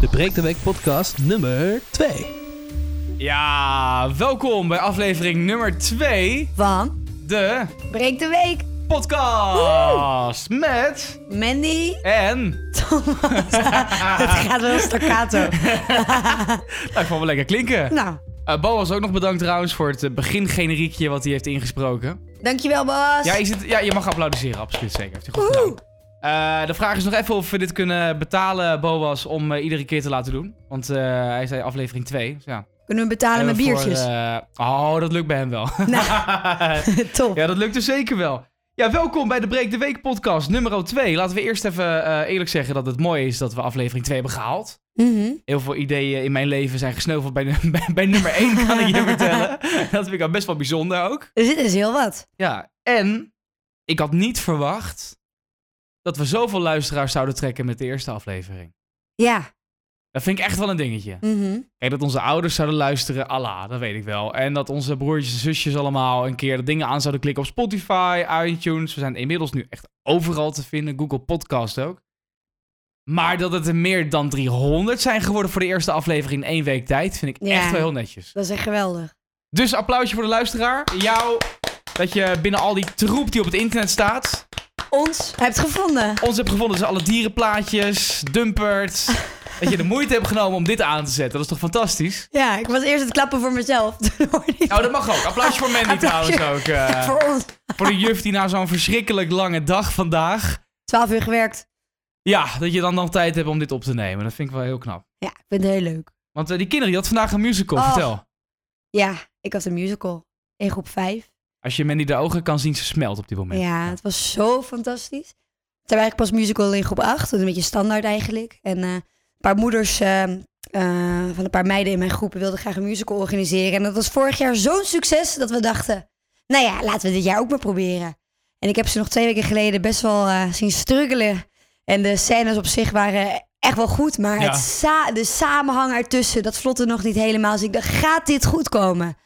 De Breek de Week podcast nummer 2. Ja, welkom bij aflevering nummer 2. Van De Breek de Week. podcast met Mandy. Ah. en... Het gaat wel staccato. Nou, ik vond wel lekker klinken. nou, Eh Boas ook nog bedankt trouwens voor het eh, begingeneriekje wat hij heeft ingesproken. dankjewel Bas. Ja, is het, ja je mag applaudisseren, absoluut zeker. Heeft hij goed Woehoe. gedaan. Eh, de vraag is nog even of we dit kunnen betalen, Boas, om eh, iedere keer te laten doen. Want eh, hij zei aflevering 2. Dus ja. Kunnen we betalen met Hebben we voor, biertjes? eh, oh, dat lukt bij hem wel. Top. Ja, dat lukt dus zeker wel. Ja, welkom bij de Breek de Week podcast nummer 2. Laten we eerst even eh, eerlijk zeggen dat het mooi is dat we aflevering 2 hebben gehaald. Mhm. Heel veel ideeën in mijn leven zijn gesneuveld bij, nu- bij, bij nummer 1, kan ik je vertellen. Dat vind ik al best wel bijzonder ook. Dus dit is heel wat. Ja, en ik had niet verwacht dat we zoveel luisteraars zouden trekken met de eerste aflevering. Ja. Dat vind ik echt wel een dingetje. Mhm. Kijk, dat onze ouders zouden luisteren, Allah, dat weet ik wel. En dat onze broertjes en zusjes allemaal een keer de dingen aan zouden klikken op Spotify, iTunes. We zijn inmiddels nu echt overal te vinden, Google Podcast ook. Maar dat het er meer dan 300 zijn geworden voor de eerste aflevering in één week tijd, vind ik Ja. echt wel heel netjes. Dat is echt geweldig. Dus applausje voor de luisteraar. Jou, dat je binnen al die troep die op het internet staat, Ons hebt gevonden. ons hebt gevonden. Dus alle dierenplaatjes, dumpert. dat je de moeite hebt genomen om dit aan te zetten. Dat is toch fantastisch? Ja, ik was eerst het klappen voor mezelf. Toen hoorde ik Nou, dat mag ook. Applausje voor Mandy Applausje. trouwens ook. eh. voor ons. voor de juf die na zo'n verschrikkelijk lange dag vandaag... 12 uur gewerkt. Ja, dat je dan nog tijd hebt om dit op te nemen. Dat vind ik wel heel knap. Ja, ik vind het heel leuk. Want eh, die kinderen, die had vandaag een musical. Oh. Vertel. Ja, ik had een musical. In groep 5. Als je Mandy de ogen kan zien, ze smelt op dit moment. Ja, het was zo fantastisch. Toen eigenlijk pas musical in groep 8. Dat is een beetje standaard eigenlijk. En eh, een paar moeders eh, eh, van een paar meiden in mijn groep wilden graag een musical organiseren. En dat was vorig jaar zo'n succes dat we dachten... Nou ja, laten we dit jaar ook maar proberen. En ik heb ze nog twee weken geleden best wel eh, zien struggelen. En de scènes op zich waren echt wel goed. Maar Ja. het sa- de samenhang ertussen, dat vlotte nog niet helemaal. Dus ik dacht, gaat dit goed komen?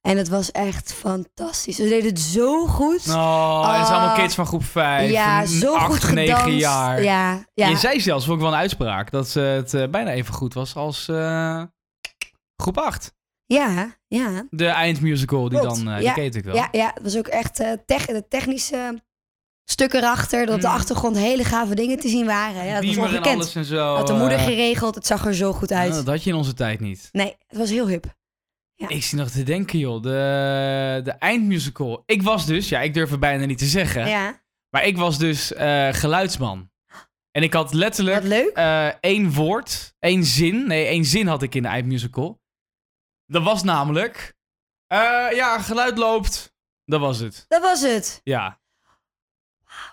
En het was echt fantastisch. Ze deden het zo goed. Oh, en het zijn allemaal Oh. kids van groep 5. Ja, zo goed gedanst. 9 jaar. Ja, ja. Je zei zelfs, vond ik wel een uitspraak, dat eh, het eh, bijna even goed was als eh, groep 8. ja, ja. De eindmusical, die Klopt. dan, eh, die Ja, ken je natuurlijk wel. Ja, ja, het was ook echt eh tech, de technische stukken erachter. Dat op de Mm. achtergrond hele gave dingen te zien waren. Ja, dat was Diemer en ongekend. alles en zo. Had de moeder eh, geregeld, het zag er zo goed uit. nou, dat had je in onze tijd niet. Nee, het was heel hip. Ja. Ik zie nog te denken, joh. De, de eindmusical. Ik was dus, ja, ik durf het bijna niet te zeggen. Ja, Maar ik was dus eh, geluidsman. En ik had letterlijk wat leuk. eh, één woord, één zin. Nee, één zin had ik in de eindmusical. Dat was namelijk... eh, ja, geluid loopt. Dat was het. Dat was het. Ja.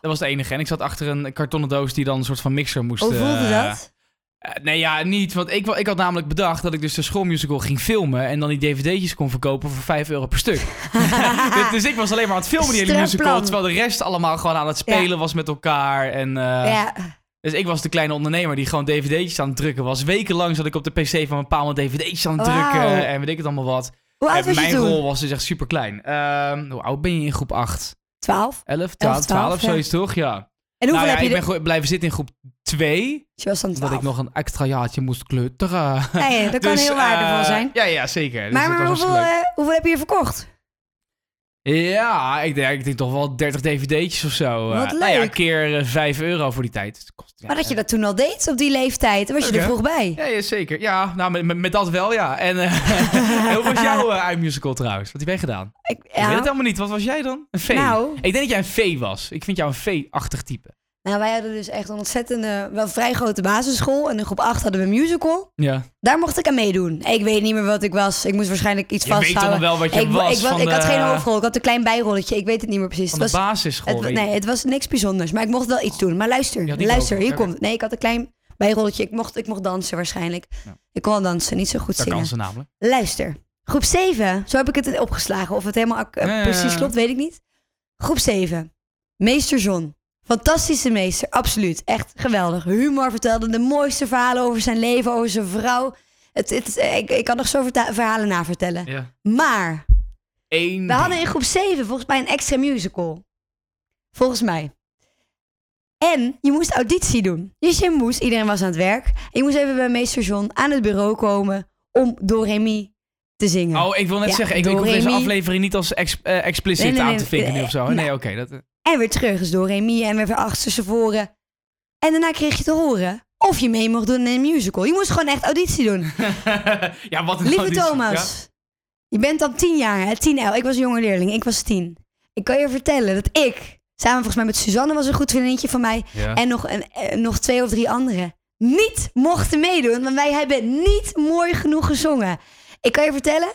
Dat was het enige. En ik zat achter een kartonnen doos die dan een soort van mixer moest... Hoe Oh, voelde eh, dat? eh, nee, ja, niet. Want ik, wa- ik had namelijk bedacht dat ik dus de schoolmusical ging filmen... en dan die dvd'tjes kon verkopen voor 5 euro per stuk. dus, dus ik was alleen maar aan het filmen die hele Strak musical... plan. terwijl de rest allemaal gewoon aan het spelen was met elkaar. En, eh, ja, Dus ik was de kleine ondernemer die gewoon dvd'tjes aan het drukken was. Wekenlang zat ik op de pc van mijn pa allemaal dvd'tjes aan het Wauw. drukken... en weet ik het allemaal wat. hoe oud en was je mijn toen? rol was dus echt super klein. hoe oud ben je in groep 8? 12. 11, 12, 12, 12 ja. zoiets toch? Ja. En Nou hoeveel ja, heb je... ik ben er- gewoon blijven zitten in groep 2... Je was dan 12. Omdat ik nog een extra jaartje moest kleuteren. Nee, dat kan Dus, heel waardevol eh, zijn. Ja, ja zeker. Dus maar dat maar was hoeveel, hartstikke leuk. eh, hoeveel heb je er verkocht? Ja, ik denk, ik denk toch wel 30 dvd'tjes of zo. Wat Eh, Nou ja, leuk. keer eh, 5 euro voor die tijd. Dus het kost, ja, Maar dat je dat toen al deed op die leeftijd, dan was je Leuk, er hè? vroeg bij. Ja, ja, zeker. Ja, nou, met, met, met dat wel, ja. En eh, en hoe was jouw eh, iMusical trouwens? Wat heb jij gedaan? Ik, Ik weet ja. het allemaal niet. Wat was jij dan? Een vee. Nou. Ik denk dat jij een vee was. Ik vind jou een vee-achtig type. Nou, wij hadden dus echt een ontzettende, wel vrij grote basisschool. En in groep 8 hadden we een musical. Ja. Daar mocht ik aan meedoen. Ik weet niet meer wat ik was. Ik moest waarschijnlijk iets Je weet toch nog vasthouden. wel wat je ik, was ik, wa- van ik had de- geen hoofdrol. Ik had een klein bijrolletje. Ik weet het niet meer precies. Van Het de was, basisschool. het, wa- weet nee, ik. het was niks bijzonders. Maar ik mocht wel iets doen. Maar luister, Ja, die luister. ook. Hier Oké. komt het. Nee, ik had een klein bijrolletje. Ik mocht, ik mocht dansen waarschijnlijk. Ja. Ik kon wel dansen, niet zo goed Daar zingen. kan ze namelijk. Luister, groep 7, zo heb ik het opgeslagen. Of het helemaal ac- eh, Ja, ja, precies ja. klopt, weet ik niet. Groep 7, meester John. Fantastische meester, absoluut. Echt geweldig. Humor vertelde de mooiste verhalen over zijn leven, over zijn vrouw. Het, het, eh, ik, ik kan nog zo verta- verhalen navertellen. Ja. Maar Eén we ding. hadden in groep 7 volgens mij een extra musical. Volgens mij. En je moest auditie doen. Dus je moest, iedereen was aan het werk. En je moest even bij meester John aan het bureau komen om Doremi te zingen. Oh, ik wil net Ja, zeggen, ik, ik hoef Doremi. deze aflevering niet als ex- eh, expliciet Nee, nee, aan nee, te vinken nu eh, of zo. nou. Nee, oké. dat, eh, En weer terug, dus Doremi en weer van achter ze voren. En daarna kreeg je te horen of je mee mocht doen in een musical. Je moest gewoon echt auditie doen. ja, wat een Lieve auditie. Thomas, je bent dan tien jaar, hè? tien el. Ik was een jonge leerling, ik was tien. Ik kan je vertellen dat ik, samen volgens mij met Suzanne was een goed vriendinnetje van mij... Ja. Ja. en nog, een, eh, nog twee of drie anderen, niet mochten meedoen. Want wij hebben niet mooi genoeg gezongen. Ik kan je vertellen,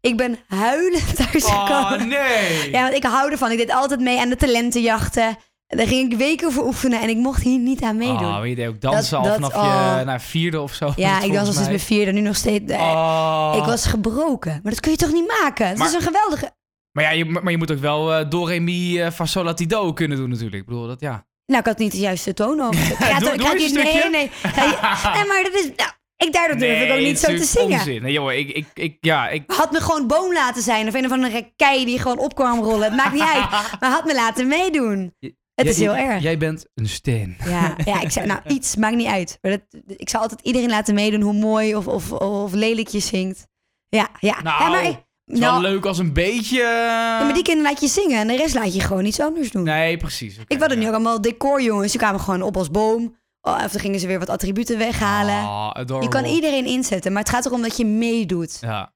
ik ben huilend thuis Oh, gekomen. nee. Ja, want ik hou ervan. Ik deed altijd mee aan de talentenjachten. En Daar ging ik weken voor oefenen en ik mocht hier niet aan meedoen. Oh, je deed ook dansen Dat- al vanaf dat- je oh. nou, vierde of zo. ja, ik dans al volgens sinds mij. mijn vierde, nu nog steeds. eh, Oh. Ik was gebroken. Maar dat kun je toch niet maken? Het Maar- is een geweldige... Maar, ja, je, maar maar je moet ook wel eh do, re, mi, eh, fa, sol, la, ti, do kunnen doen natuurlijk. Ik bedoel, dat ja. Nou, ik had niet de juiste toon over. Ik ga Doe- ik doe ga eens hier- een nee, stukje. nee. Ga je- nee, maar dat is... Nou, ik daardoor durf ik ook niet zo te natuurlijk zingen. Onzin. Nee, jongen, ik, ik, ik, ja, ik, Had me gewoon boom laten zijn. Of een of andere kei die gewoon opkwam rollen. Het maakt niet uit. Maar had me laten meedoen. Je- Het jij- is heel jij- erg. Jij bent een steen. Ja, ja, ik zei, nou iets, maakt niet uit. Maar dat, ik zou altijd iedereen laten meedoen hoe mooi of, of, of lelijk je zingt. Ja, ja. Nou, Ja, maar, het ik- is wel nou, leuk als een beetje... ja, maar die kinderen laat je zingen en de rest laat je gewoon iets anders doen. eh, Nee, precies. oké, ik wilde ja. nu ook allemaal decorjongens. Die kwamen gewoon op als boom. Oh, of dan gingen ze weer wat attributen weghalen. Ah, adorable. je kan iedereen inzetten, maar het gaat erom dat je meedoet. Ja.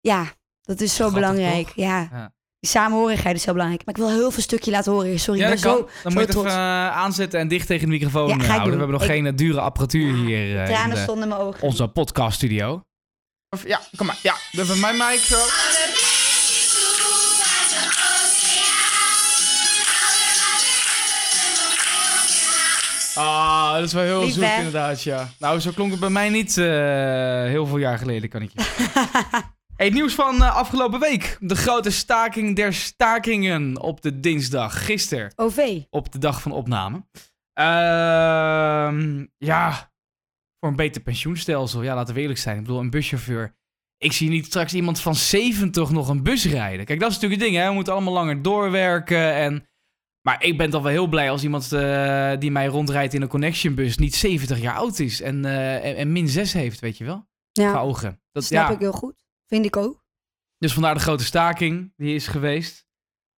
Ja, dat is zo Grappig, belangrijk. toch? Ja. Ja. Die samenhorigheid is zo belangrijk. Maar ik wil heel veel stukje laten horen. Sorry, ja, ik dat ben kan. zo, Dan moet zo je het trots. even eh, aanzetten en dicht tegen de microfoon Ja, ga ik eh, houden. We doen. hebben nog Ik- geen eh, dure apparatuur hier eh, in Tranen de- stonden in mijn ogen. onze podcaststudio. Of- Ja, kom maar. Ja, even mijn mic zo. Ah, dat is wel heel Lief, zoek hè? inderdaad, ja. Nou, zo klonk het bij mij niet eh, heel veel jaar geleden, kan ik je zeggen. Hey, het nieuws van eh, afgelopen week. De grote staking der stakingen op de dinsdag, gisteren OV. op de dag van opname. Ehm, ja, voor een beter pensioenstelsel. Ja, laten we eerlijk zijn. Ik bedoel, een buschauffeur. Ik zie niet straks iemand van 70 nog een bus rijden. Kijk, dat is natuurlijk het ding, hè. We moeten allemaal langer doorwerken en... Maar ik ben toch wel heel blij als iemand eh, die mij rondrijdt in een connectionbus niet 70 jaar oud is en, eh, en, en min 6 heeft, weet je wel? Ja, Qua ogen. Dat, snap ja. ik heel goed. Vind ik ook. Dus vandaar de grote staking die is geweest.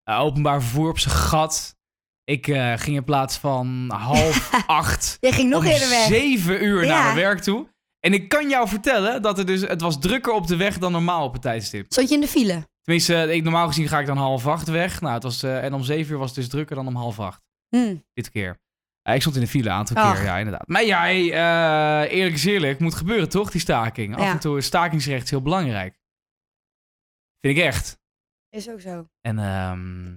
Eh, openbaar vervoer op zijn gat. Ik eh, ging in plaats van half acht Jij ging nog om eerder weg. zeven uur naar Ja. mijn werk toe. En ik kan jou vertellen dat het dus, het was drukker op de weg dan normaal op het tijdstip. Stond je in de file? Tenminste, eh, ik, normaal gezien ga ik dan half acht weg. Nou, het was, eh, en om zeven uur was het dus drukker dan om half acht Hm. dit keer. Eh, ik stond in de file een aantal Ach. keer, ja, inderdaad. Maar ja, hey, eh, eerlijk is eerlijk, moet gebeuren toch, die staking? Af Ja. en toe is stakingsrecht heel belangrijk. Vind ik echt. Is ook zo. En ehm,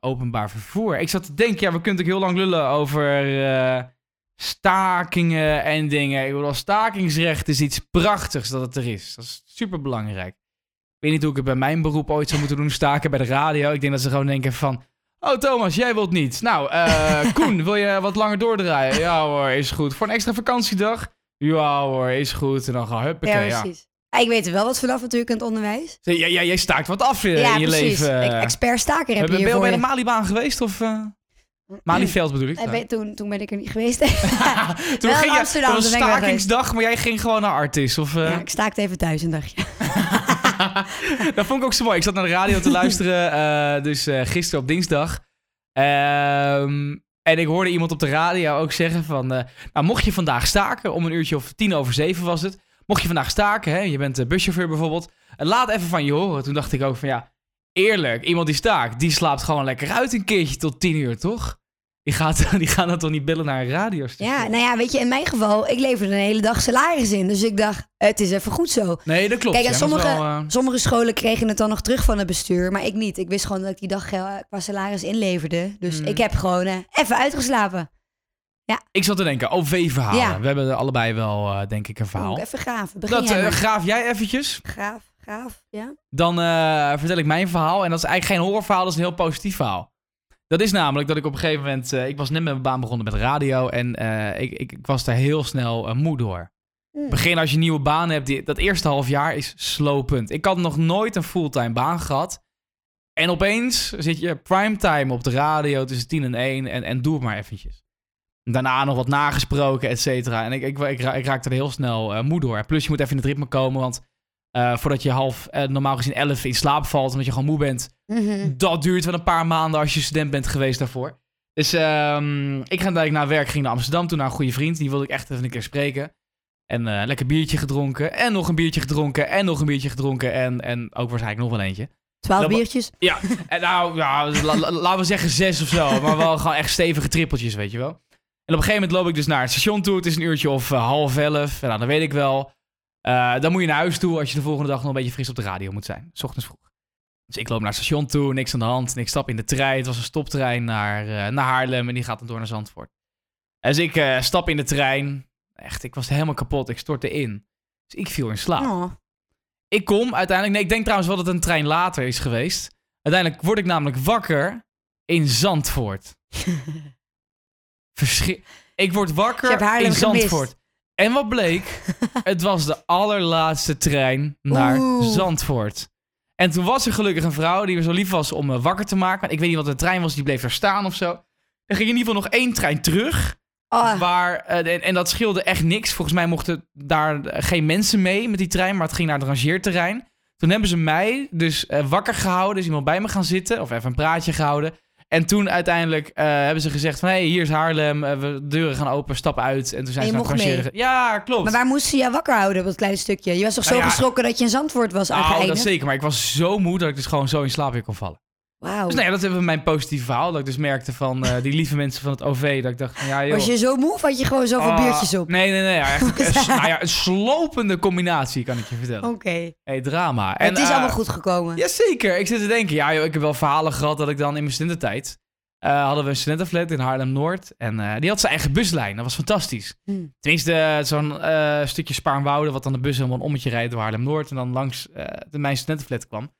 openbaar vervoer. Ik zat te denken, ja, we kunnen natuurlijk heel lang lullen over eh, stakingen en dingen. Ik bedoel, stakingsrecht is iets prachtigs dat het er is. Dat is superbelangrijk. Ik weet niet hoe ik het bij mijn beroep ooit zou moeten doen, staken bij de radio. Ik denk dat ze gewoon denken van... Oh, Thomas, jij wilt niet. Nou, eh, Koen, wil je wat langer doordraaien? Ja hoor, is goed. Voor een extra vakantiedag? Ja hoor, is goed. En dan gaan huppakee, ja, ja. precies. Ah, Ik weet er wel wat vanaf natuurlijk in het onderwijs. Zeg, jij- jij- jij staakt wat af eh, ja, in je precies. leven. Ik- Expert staker heb Ben je je hier wel voor bij de je. Malibaan geweest? Of eh Malieveld bedoel ik? Eh, Nou. ben- toen, toen ben ik er niet geweest. Toen Wel ging in je, Amsterdam, dat was toen ben ik wel stakingsdag, maar jij ging gewoon naar Artis. Of, eh, ja, ik staakte even thuis een dagje. dat vond ik ook zo mooi. Ik zat naar de radio te luisteren, eh, dus eh, gisteren op dinsdag. Ehm, en ik hoorde iemand op de radio ook zeggen van... eh, nou, mocht je vandaag staken, om een uurtje of tien over zeven was het... Mocht je vandaag staken, hè, je bent eh, buschauffeur bijvoorbeeld... eh, laat even van je horen. Toen dacht ik ook van ja, eerlijk, iemand die staakt... die slaapt gewoon lekker uit een keertje tot tien uur, toch? Die, gaat, die gaan dan toch niet bellen naar een radiostation? Ja, nou ja, weet je, in mijn geval, ik leverde een hele dag salaris in. Dus ik dacht, het is even goed zo. Nee, dat klopt. Kijk, en ja, maar het is sommige- wel, eh, Sommige scholen kregen het dan nog terug van het bestuur, maar ik niet. Ik wist gewoon dat ik die dag eh, qua salaris inleverde. Dus Mhm. ik heb gewoon eh, even uitgeslapen. Ik zat te denken, OV-verhalen. Ja. We hebben er allebei wel, eh, denk ik, een verhaal. Moet ik even graven. Begin Dat jij eh, maar. graaf jij eventjes. Graaf, graaf, ja. Dan eh, vertel ik mijn verhaal. En dat is eigenlijk geen horrorverhaal, dat is een heel positief verhaal. Dat is namelijk dat ik op een gegeven moment... eh, ik was net met mijn baan begonnen met radio. En eh, ik, ik, ik was daar heel snel eh, moe door. Mm. Begin als je een nieuwe baan hebt. Die, dat eerste half jaar is slopend. Ik had nog nooit een fulltime baan gehad. En opeens zit je primetime op de radio tussen 10 en 1. En, en doe het maar eventjes. Daarna nog wat nagesproken, et cetera. En ik, ik, ik, ra- ik raakte er heel snel eh, moe door. En Plus je moet even in het ritme komen, want eh, voordat je half, eh, normaal gezien elf in slaap valt omdat je gewoon moe bent, Mhm. dat duurt wel een paar maanden als je student bent geweest daarvoor. Dus ehm, ik ging ik naar werk, ging naar Amsterdam, toen naar een goede vriend. Die wilde ik echt even een keer spreken. En eh, lekker biertje gedronken, en nog een biertje gedronken, en nog een biertje gedronken, en, en ook waarschijnlijk nog wel eentje. Twaalf Dat wa- biertjes. En nou, ja, la- la- laten we zeggen zes of zo. Maar wel gewoon echt stevige trippeltjes, weet je wel. En op een gegeven moment loop ik dus naar het station toe. Het is een uurtje of eh, half elf. Nou, dat weet ik wel. Eh, dan moet je naar huis toe als je de volgende dag nog een beetje fris op de radio moet zijn. 's ochtends vroeg. Dus ik loop naar het station toe, niks aan de hand. En ik stap in de trein. Het was een stoptrein naar, eh, naar Haarlem en die gaat dan door naar Zandvoort. Dus ik eh, stap in de trein. Echt, ik was helemaal kapot. Ik stortte in. Dus ik viel in slaap. Oh. Ik kom uiteindelijk. Nee, ik denk trouwens wel dat het een trein later is geweest. Uiteindelijk word ik namelijk wakker in Zandvoort. Verschi- ik word Je wakker hebt Haarlem in gemist. Zandvoort. En wat bleek? het was de allerlaatste trein naar Oeh. Zandvoort. En toen was er gelukkig een vrouw die me zo lief was om me wakker te maken. Maar ik weet niet wat de trein was, die bleef daar staan of zo. Er ging in ieder geval nog één trein terug. Ah, Waar, eh, en, en dat scheelde echt niks. Volgens mij mochten daar eh, geen mensen mee met die trein, maar het ging naar het rangeerterrein. Toen hebben ze mij dus eh, wakker gehouden, is iemand bij me gaan zitten of even een praatje gehouden. En toen uiteindelijk eh, hebben ze gezegd van, hé, hey, hier is Haarlem, eh, we deuren gaan open, stap uit. En toen zijn En ze naar het je mocht mee. rangeerterrein. Ja, klopt. Maar waar moest ze jou wakker houden op dat kleine stukje? Je was toch zo Nou ja. geschrokken dat je in Zandvoort was nou, dat aangeëindigd? zeker, maar ik was zo moe dat ik dus gewoon zo in slaap weer kon vallen. Oh. Wauw. Dus nou ja, dat hebben we mijn positieve verhaal. Dat ik dus merkte van eh, die lieve mensen van het OV, dat ik dacht van, ja joh. was je zo moe of had je gewoon zoveel Ah, biertjes op? Nee, nee, nee. ja, echt, eh, s- nou ja, een slopende combinatie, kan ik je vertellen. Oké. Hey, drama. Oh. Maar het is eh, allemaal goed gekomen. Jazeker. Ik zit te denken, ja joh, ik heb wel verhalen gehad dat ik dan in mijn studententijd... eh, hadden we een studentenflat in Haarlem-Noord. En eh, die had zijn eigen buslijn. Dat was fantastisch. Hm. Tenminste, eh, zo'n eh, stukje Spaarnwoude... wat dan de bus helemaal een ommetje rijdt door Haarlem-Noord... en dan langs eh, de mijn studentenflat kwam.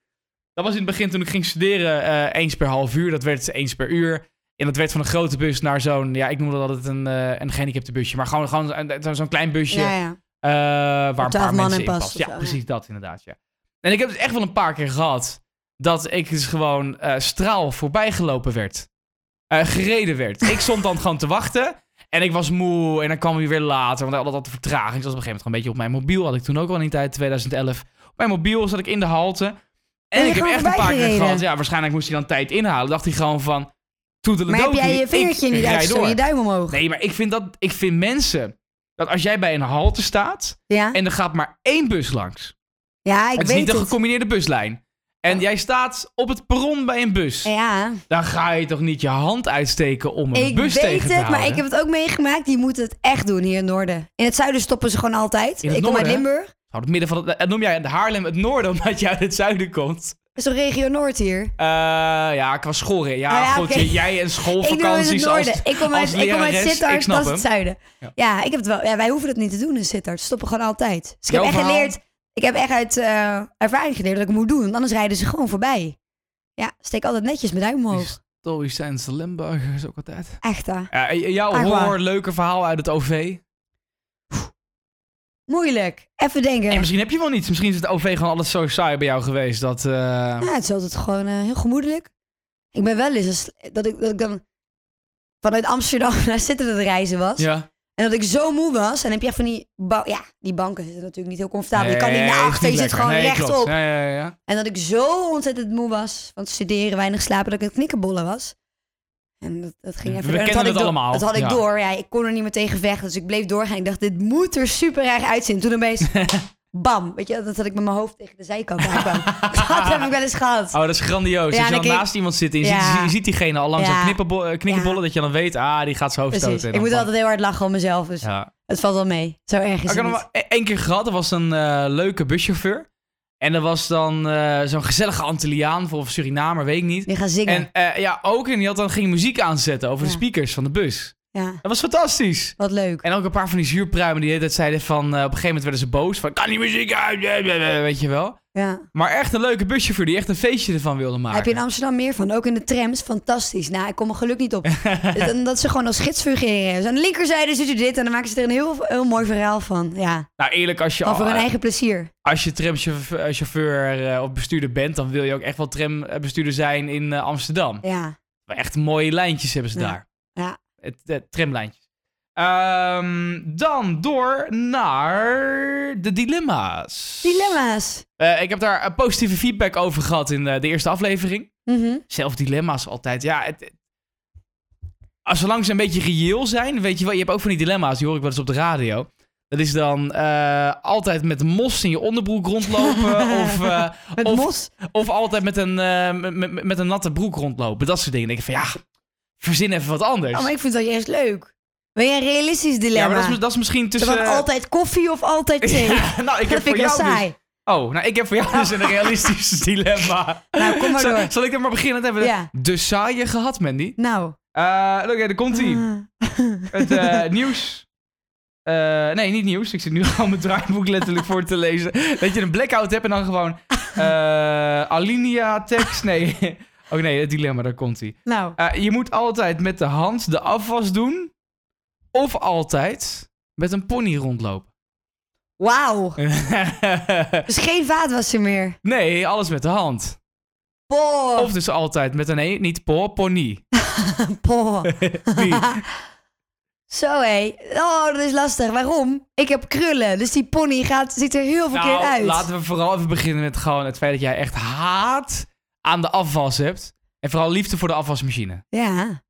Dat was in het begin toen ik ging studeren eh, eens per half uur. Dat werd eens per uur. En dat werd van een grote bus naar zo'n... Ja, ik noemde dat altijd een, eh een gehandicapte busje. Maar gewoon, gewoon een- zo'n klein busje. Ja, ja. Eh, waar een twaalf paar man mensen in in past past. of Ja, zo, ja. precies dat inderdaad, ja. En ik heb het echt wel een paar keer gehad dat ik dus gewoon eh, straal voorbijgelopen werd. Eh, gereden werd. Ik stond dan gewoon te wachten en ik was moe en dan kwam hij weer later, want dat had de vertraging. Ik zat op een gegeven moment gewoon een beetje op mijn mobiel, had ik toen ook al in die tijd, 2011. Op mijn mobiel zat ik in de halte en je ik heb gewoon echt een paar keer voorbijgereden? gehad. Ja, waarschijnlijk moest hij dan tijd inhalen. Dacht hij gewoon van, Maar heb jij je vingertje niet uitgestoken, je duim omhoog? Nee, maar ik vind, dat, ik vind mensen, dat als jij bij een halte staat, Ja? en er gaat maar één bus langs. ja, ik het is weet niet een het. gecombineerde buslijn. En jij staat op het perron bij een bus. Ja, Dan ga je toch niet je hand uitsteken om een ik bus weet tegen het, te houden? maar ik heb het ook meegemaakt. Die moeten het echt doen hier in het noorden. In het zuiden stoppen ze gewoon altijd. In het ik kom uit noorden, hè? Limburg. Het Hou het midden van het, eh, noem jij Haarlem het noorden omdat je uit het zuiden komt? is toch regio Noord hier? Eh, ja, qua school. hè. Ja, Ah, ja, goed, oké. jij en Ik doe het in het schoolvakanties. als, noorden. ik kom uit, als ik kom uit lerares, ik Sittard, snap dat is hem. het zuiden. Ja. Ja. ik heb het wel. Ja, wij hoeven dat niet te doen in Sittard. Ze stoppen gewoon altijd. Dus ik Jouw heb echt verhaal? geleerd. Ik heb echt uit eh, ervaring geleerd dat ik het moet doen. want Anders rijden ze gewoon voorbij. Ja, steek altijd netjes mijn duim Die omhoog. Stoïcijnse Limburgers ook altijd. Echt hè. Ja, eh, jouw Echt waar. horror, leuke verhaal uit het OV. Moeilijk. Even denken. En misschien heb je wel niets. Misschien is het OV gewoon alles zo saai bij jou geweest. Dat, eh, Ja, het is altijd gewoon eh, heel gemoedelijk. Ik ben wel eens een sl- dat ik, dat ik dan vanuit Amsterdam naar Zitten het reizen was. ja. En dat ik zo moe was. En heb je echt van die, ba- ja, die banken zitten natuurlijk niet heel comfortabel. je kan niet Nee, naar is achter, je zit lekker. gewoon Nee, rechtop. klopt. Ja, ja, ja. En dat ik zo ontzettend moe was van het studeren, weinig slapen, dat ik een knikkenbollen was. En dat, dat ging We even... en dat kennen had het ik do- allemaal, Dat had ik ja. door. Ja, ik kon er niet meer tegen vechten, dus ik bleef doorgaan. Ik dacht, dit moet er super erg uitzien. Toen opeens, bam, weet je, dat had ik met mijn hoofd tegen de zijkant aankwam. dat heb ik wel eens gehad. Oh, dat is grandioos. Ja, Als je en dan ik- naast iemand zit en je, Ja. ziet, je ziet diegene al langs Ja. ja. knikkenbollen, Ja. dat je dan weet, ah, die gaat zijn hoofd Precies. stoten. En Ik moet dan- altijd heel hard lachen om mezelf, dus Ja. het valt wel mee. Zo erg is Ik had het nog niet. maar e- één keer gehad, er was een eh, leuke buschauffeur. En er was dan eh, zo'n gezellige Antilliaan of Surinamer, weet ik niet. Je gaat zingen. En eh, ja, ook, en die had dan ging muziek aanzetten over de Ja. speakers van de bus. Ja, Dat was fantastisch. wat leuk. En ook een paar van die zuurpruimen die de hele tijd zeiden van, eh, op een gegeven moment werden ze boos. Van, kan die muziek uit? Weet je wel. Ja. Maar echt een leuke buschauffeur die echt een feestje ervan wilde maken. Heb je nou- in Amsterdam meer van? Ook in de trams. Fantastisch. Nou, ik kom mijn geluk niet op. dat, dat ze gewoon als gids fungeren. Dus aan de linkerzijde ziet u dit en dan maken ze er een heel, heel mooi verhaal van. Ja, Nou, eerlijk, als je, gewoon voor hun eh, eigen plezier. als je tramchauffeur eh, of bestuurder bent, dan wil je ook echt wel trambestuurder zijn in eh, Amsterdam. Ja. Maar Echt mooie lijntjes hebben ze Ja. daar. Ja. Het, het- tramlijntjes. Ehm, dan door naar de dilemma's. Dilemma's. Eh, ik heb daar eh, positieve feedback over gehad in eh, de eerste aflevering. Mhm. zelf dilemma's altijd. Ja, het, het- als zolang ze een beetje reëel zijn, weet je wel, je hebt ook van die dilemma's, die hoor ik wel eens op de radio. Dat is dan eh, altijd met mos in je onderbroek rondlopen. of, eh, Met Of- mos. of altijd met een, eh, met, met- met een natte broek rondlopen. Dat soort dingen. Dan denk ik van ja, verzin even wat anders. Oh, maar ik vind dat juist leuk. Wil jij een realistisch ja, dilemma? maar dat is, dat is misschien tussen. Van altijd koffie of altijd thee? Ja, nou, ik dat heb vind voor ik wel jou dus- saai. Oh, nou, ik heb voor jou dus een realistisch dilemma. Nou, kom maar Zal, door. zal ik dan maar beginnen? Dan hebben dus. we Ja. de, de saaie gehad, Mandy. Nou. Eh, Oké, daar komt-ie. Ah. Het eh, nieuws. Eh, nee, niet nieuws. Ik zit nu gewoon mijn draaiboek letterlijk voor te lezen. Dat je een blackout hebt en dan gewoon. eh alinea tekst. Nee. Oh nee, het dilemma, daar komt ie. Eh, nou. je moet altijd met de hand de afwas doen. Of altijd met een pony rondlopen. Wauw. Dus geen vaatwasser meer. nee, alles met de hand. Boah. Of dus altijd met een. Nee, niet po, pony. Boah. Die. Zo hé. Oh, dat is lastig. Waarom? Ik heb krullen, dus die pony gaat, ziet er heel verkeerd Nou, uit. laten we vooral even beginnen met gewoon het feit dat jij echt haat aan de afwas hebt. En vooral liefde voor de afwasmachine. Ja.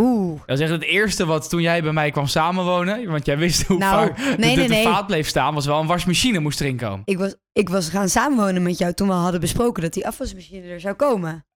Oeh. Dat is echt het eerste wat toen jij bij mij kwam samenwonen. Want jij wist hoe Nou, vaak nee, de- de, nee, de nee. vaat bleef staan. Was wel een wasmachine moest erin komen. Ik was, ik was gaan samenwonen met jou toen we hadden besproken dat die afwasmachine er zou komen.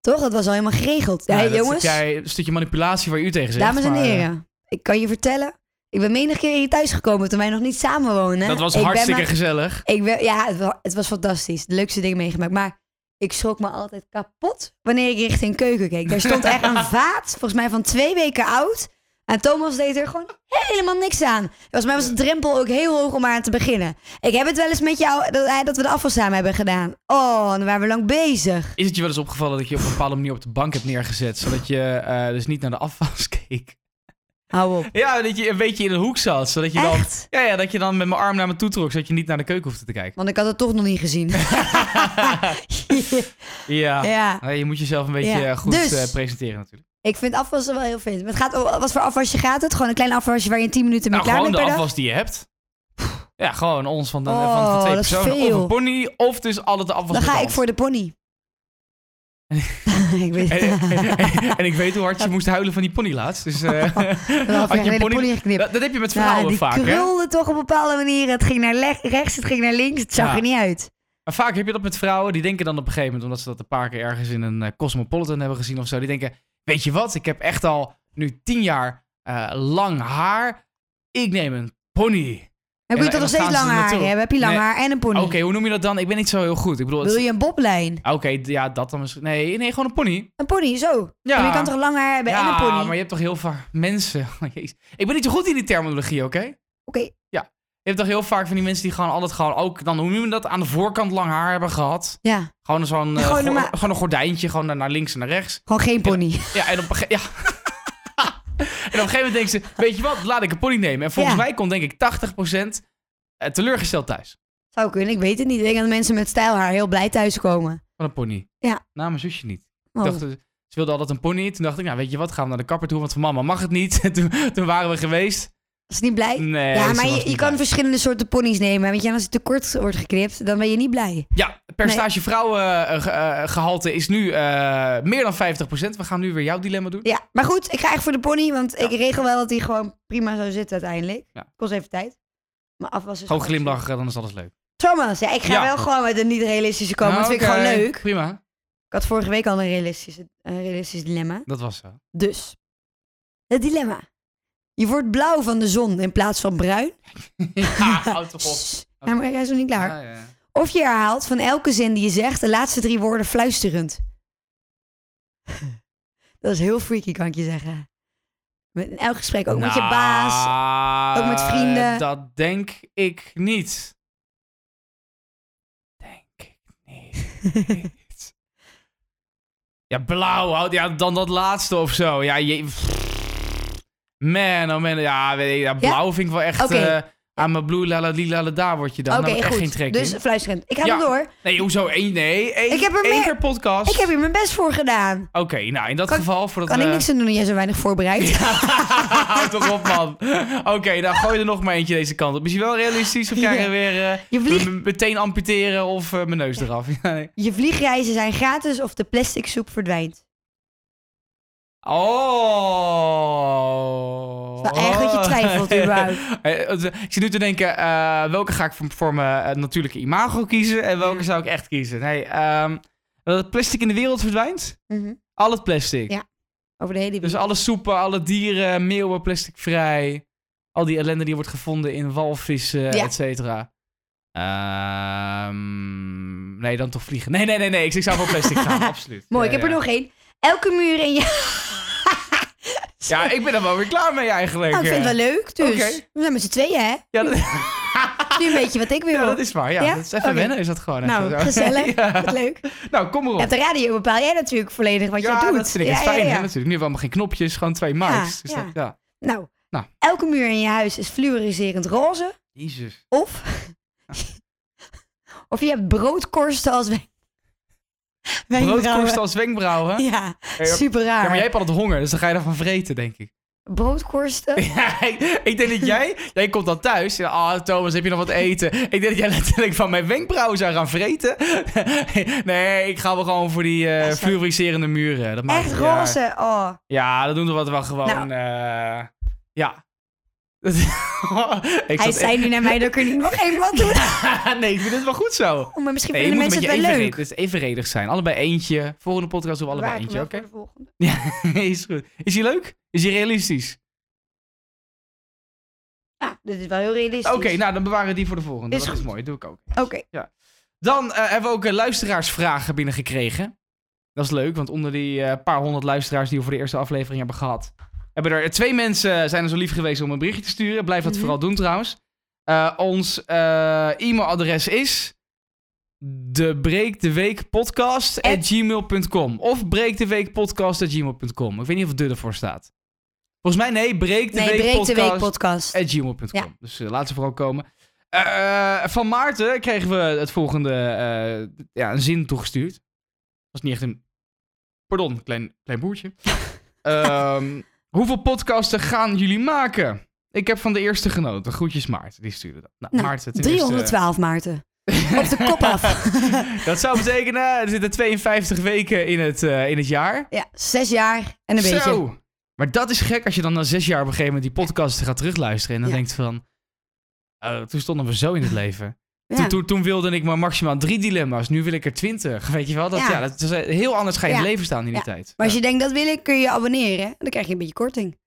Toch? Dat was al helemaal geregeld. Ja, Nou, dat jongens. zit jij een stukje manipulatie waar u tegen zegt. Dames en maar, eh, heren, ik kan je vertellen. Ik ben menig keer hier thuis gekomen toen wij nog niet samen woonden. Dat was ik ben hartstikke maar- gezellig. ik ben, ja, het was, het was fantastisch. De leukste dingen meegemaakt. Maar ik schrok me altijd kapot wanneer ik richting keuken keek. Daar stond echt een vaat, volgens mij van twee weken oud. En Thomas deed er gewoon helemaal niks aan. Volgens mij was de drempel ook heel hoog om aan te beginnen. Ik heb het wel eens met jou dat, eh, dat we de afval samen hebben gedaan. Oh, dan waren we lang bezig. Is het je wel eens opgevallen dat je op een bepaalde manier op de bank hebt neergezet. Zodat je eh, dus niet naar de afwas keek. Hou op. Ja, dat je een beetje in een hoek zat. Zodat je dan, Echt? ja, ja, dat je dan met mijn arm naar me toe trok. Zodat je niet naar de keuken hoefde te kijken. Want ik had het toch nog niet gezien. Ja. ja. Nee, je moet jezelf een beetje Ja. eh, goed Dus- eh, presenteren natuurlijk. Ik vind afwassen wel heel fijn. Maar Het gaat, om- wat voor afwasje gaat het? Gewoon een klein afwasje waar je in 10 minuten mee Nou, klaar gewoon bent de per dag? afwas die je hebt. Ja, gewoon ons van, de, van, van Oh, twee dat is personen. Of een veel. pony, of dus altijd de afwas Dan met ga de ik voor de pony. ik weet hand. En, en ik weet hoe hard je moest huilen van die pony laatst. Dus, eh, Wel, had je ik een heb de pony... pony geknipt. Dat, dat heb je met Ja, vrouwen die vaak, hè? krulde toch op een bepaalde manier. Het ging naar le- rechts, het ging naar links. Het zag Ja. er niet uit. Maar vaak heb je dat met vrouwen. Die denken dan op een gegeven moment, omdat ze dat een paar keer ergens in een eh, Cosmopolitan hebben gezien of zo. Die denken, weet je wat? Ik heb echt al nu tien jaar eh, lang haar. Ik neem een pony. Maar En- ik moet en toch nog dan steeds gaan lang ze haar naartoe. hebben? Heb je lang Nee. haar en een pony? Oké, hoe noem je dat dan? Ik ben niet zo heel goed. Ik bedoel, het- Wil je een boblijn? Ah, Oké, d- ja, dat dan misschien. Nee, nee, gewoon een pony. Een pony, zo. Ja. Maar je kan toch lang haar hebben en ja, een pony? maar je hebt toch heel vaak mensen. Oh, jezus. Ik ben niet zo goed in die terminologie, oké? Oké, Je hebt toch heel vaak van die mensen die gewoon altijd gewoon ook dan hoe noem je dat aan de voorkant lang haar hebben gehad. ja. Gewoon zo'n eh, Gewoon go- normaal. gewoon een gordijntje, gewoon naar, naar links en naar rechts. Gewoon geen pony. Ja, en op een gege- ja. En op een gegeven moment denken ze, weet je wat, laat ik een pony nemen. En volgens Ja. mij komt denk ik 80% eh, teleurgesteld thuis Zou kunnen, ik weet het niet. Ik denk dat mensen met stijlhaar heel blij thuiskomen. van een pony. Ja. Nou, mijn zusje niet. Oh. Ik dacht, eh, ze wilde altijd een pony. Toen dacht ik, nou weet je wat, gaan we naar de kapper toe, want van mama mag het niet. En toen, toen waren we geweest. Is niet blij? Nee, ja, ze maar was je, niet je blij. kan verschillende soorten ponies nemen. Want ja, als het tekort wordt geknipt, dan ben je niet blij. Ja, het percentage vrouwengehalte is nu eh, meer dan 50%. We gaan nu weer jouw dilemma doen. Ja, maar goed, ik ga echt voor de pony. Want ik regel wel dat hij gewoon prima zou zitten uiteindelijk. Ja. Kost even tijd. Maar afwassen is Gewoon gewoon- glimlachen, dan is alles leuk. Thomas, ja, ik ga Ja. wel gewoon met een niet-realistische komen. Nou, dat vind ik oké, gewoon leuk. Prima, Ik had vorige week al een, realistische, een realistisch dilemma. dat was zo. Dus, het dilemma. Je wordt blauw van de zon in plaats van bruin. ja, Ah, houd toch op. Sss, ja, maar hij is nog niet klaar. Ja, ja. Of je herhaalt van elke zin die je zegt de laatste drie woorden fluisterend. Dat is heel freaky, kan ik je zeggen. Met in elk gesprek, ook met je Nou, baas. ook met vrienden. Dat denk ik niet. Denk ik niet. ja, blauw, houd- ja, dan dat laatste of zo. Ja, je... Man, oh man, ja, weet ik, ja blauw vind ik wel echt... Oké. eh, Aan mijn blue la la li, la la da word je dan. Oké, Dan heb ik echt geen goed. trek Dus in. fluisterend. Ik ga Ja. hem door. Nee, hoezo? Eén, nee. Eén, Ik heb er één meer- per podcast. Ik heb hier mijn best voor gedaan. Oké, nou in dat Kan- geval... Voordat Kan ik we- niks aan doen dat jij zo weinig voorbereidt? Houd toch op, man. Oké, nou gooi er nog maar eentje deze kant op. Is je wel realistisch of krijg je Ja. weer eh, Je vliegt- me- me- meteen amputeren of eh, mijn neus eraf? Ja, nee. Je vliegreizen zijn gratis of de plastic soep verdwijnt. Oh. Het is wel erg dat je twijfelt überhaupt. Eh, het- Ik zit nu te denken, eh, welke ga ik voor, voor mijn eh, natuurlijke imago kiezen en welke zou ik echt kiezen? Nee, ehm, dat het plastic in de wereld verdwijnt? Mhm. Al het plastic. Ja. Over de hele wereld. Dus alle soepen, alle dieren, meeuwen, plasticvrij. Al die ellende die wordt gevonden in walvissen, Ja. et cetera. Ehm, nee, dan toch vliegen. Nee, nee, nee, nee. Ik, ik zou voor plastic gaan, absoluut. Mooi, Ja, ik heb er ja. nog één. Elke muur in je... Ja, ik ben er wel weer klaar mee eigenlijk. Nou, ik vind het wel leuk, dus. Oké. We zijn met z'n tweeën, hè? Ja, dat, Nu weet je wat ik wil. ja, dat is waar. Ja, Ja? dat is even Oké. wennen is dat gewoon. even Nou, zo. gezellig. Ja. Wat leuk. Nou, kom erop. Ja, op de radio bepaal jij natuurlijk volledig wat ja, jij doet. dat vind ik het Ja, fijn, ja, Hè, ja. natuurlijk. Nu hebben we allemaal geen knopjes, gewoon twee mics. dus ja. Dat, ja. Nou, Nou. elke muur in je huis is fluoriserend roze. Jezus. Of... of je hebt broodkorsten als... we- wenkbrauwen. Broodkorst als wenkbrauwen. Ja, Ja, super raar. maar jij hebt altijd honger, dus dan ga je daarvan vreten, denk ik. Broodkorsten? Ja, ik, ik denk dat jij... Jij komt dan thuis. Ja, Ah, Thomas, heb je nog wat eten? Ik denk dat jij letterlijk van mijn wenkbrauwen zou gaan vreten. nee, ik ga wel gewoon voor die eh Ja, zo. fluoriserende muren. Dat maakt Echt niet uit. roze. Oh. Ja, dat doen we wat wel gewoon. Nou. eh, ja. ik Hij zat zei nu naar mij dat ik er niet nog één van doe. echt- nee, ik vind het wel goed zo. Oh, maar misschien Nee, je vinden moet een de mensen beetje het wel evenredig, leuk. dus evenredig zijn. Allebei eentje. Volgende podcast doen we allebei Bewaar ik eentje, hem oké? wel voor de volgende. is goed. Is die leuk? Is die realistisch? Ja, dit is wel heel realistisch. Oké, nou dan bewaren we die voor de volgende. Is dat is goed. mooi, doe ik ook. Oké. Dan eh, hebben we ook eh, luisteraarsvragen binnengekregen. Dat is leuk, want onder die eh, paar honderd luisteraars die we voor de eerste aflevering hebben gehad, hebben er eh, twee mensen zijn er zo lief geweest om een berichtje te sturen. Blijf dat Mhm. vooral doen trouwens. Eh, ons eh, e-mailadres is de of breekdeweekpodcast@gmail.com. Ik weet niet of de ervoor staat. Volgens mij nee, breek de Nee, week breek de week podcast podcast. at gmail.com. Ja. Dus eh, laat ze vooral komen. Eh, eh, van Maarten kregen we het volgende eh, ja, een zin toegestuurd. Was niet echt een. Pardon, klein, klein boertje. Ehm, hoeveel podcasten gaan jullie maken? Ik heb van de eerste genoten. Groetjes Maarten, die stuurde dat. Nou, Nou, Maarten, ten eerste- 312 Maarten. Op de kop af. dat zou betekenen, er zitten 52 weken in het, eh, in het jaar. Ja, zes jaar en een beetje. Zo! Maar dat is gek als je dan na zes jaar op een gegeven moment die podcast gaat terugluisteren. En dan Ja. denkt van, eh, toen stonden we zo in het leven. Ja. Toen, toen, toen wilde ik maar maximaal drie dilemma's. Nu wil ik er twintig. Weet je wel? Dat, ja. Ja. dat is eh, heel anders ga je in het Ja. leven staan in die Ja. tijd. Maar als je denkt dat wil ik, kun je je abonneren. hè? Dan krijg je een beetje korting.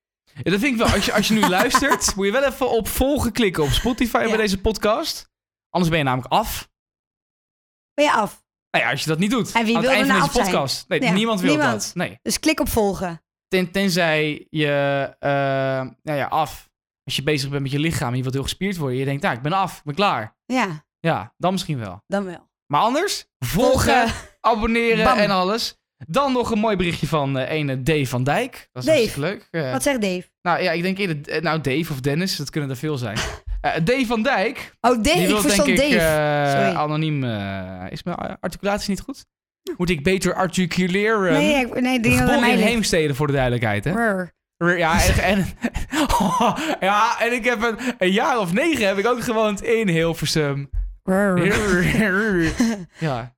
Ja, dat vind ik wel. Als je, als je nu luistert, moet je wel even op volgen klikken op Spotify bij Ja. deze podcast. Anders ben je namelijk af. Ben je af. Nou ja, als je dat niet doet. En wie aan het wil er einde van nou deze af zijn? podcast. Nee, Ja, niemand wil niemand. dat. Nee. Dus klik op volgen. Ten- tenzij je eh, nou ja, af. Als je bezig bent met je lichaam en je wilt heel gespierd worden. Je denkt, nou, ik ben af. Ik ben klaar. Ja, Ja, dan misschien wel. dan wel. eh, Maar anders, volgen. abonneren Bam. en alles. Dan nog een mooi berichtje van eh ene Dave van Dijk. Dat is Dave. hartstikke leuk. Eh, Wat zegt Dave? nou ja, ik denk eerder, eh, nou Dave of Dennis, dat kunnen er veel zijn. Eh Dave van Dijk, Oh, Dave. die wil Ik denk verstond ik Dave. eh, Sorry. anoniem, eh, is mijn articulatie niet goed? Moet ik beter articuleren? nee, ik, nee, die wil aan Geboren mij in ligt. Heemstede voor de duidelijkheid, hè? Brr. Ja, en, en- ja, en ik heb een, een jaar of negen heb ik ook gewoond in Hilversum. Brr. Ja.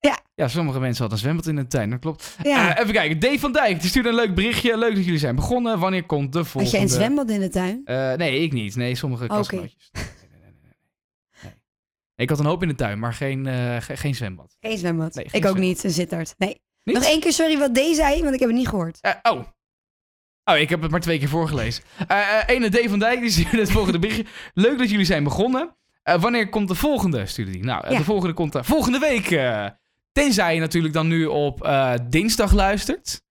Ja. ja, sommige mensen hadden een zwembad in de tuin, dat klopt. Ja. Eh, even kijken, Dave van Dijk, die stuurde een leuk berichtje. Leuk dat jullie zijn begonnen. Wanneer komt de Had volgende? jij een zwembad in de tuin? Eh, nee, ik niet. Nee, sommige Oké. klasgenootjes. Nee, nee, nee, nee, nee, nee. Nee. Ik had een hoop in de tuin, maar geen, eh, ge- geen zwembad. Geen zwembad. Nee, ik geen ook zwembad. niet, een zittert. Nee. Niet? Nog één keer sorry wat D zei, want ik heb het niet gehoord. Eh, oh. Oh, ik heb het maar twee keer voorgelezen. Eh eh, ene D van Dijk, die stuurde het volgende berichtje. Leuk dat jullie zijn begonnen. Eh, wanneer komt de volgende, stuurde die. Nou, eh, Ja. de volgende komt eh, volgende week. eh. tenzij je natuurlijk dan nu op eh, dinsdag luistert.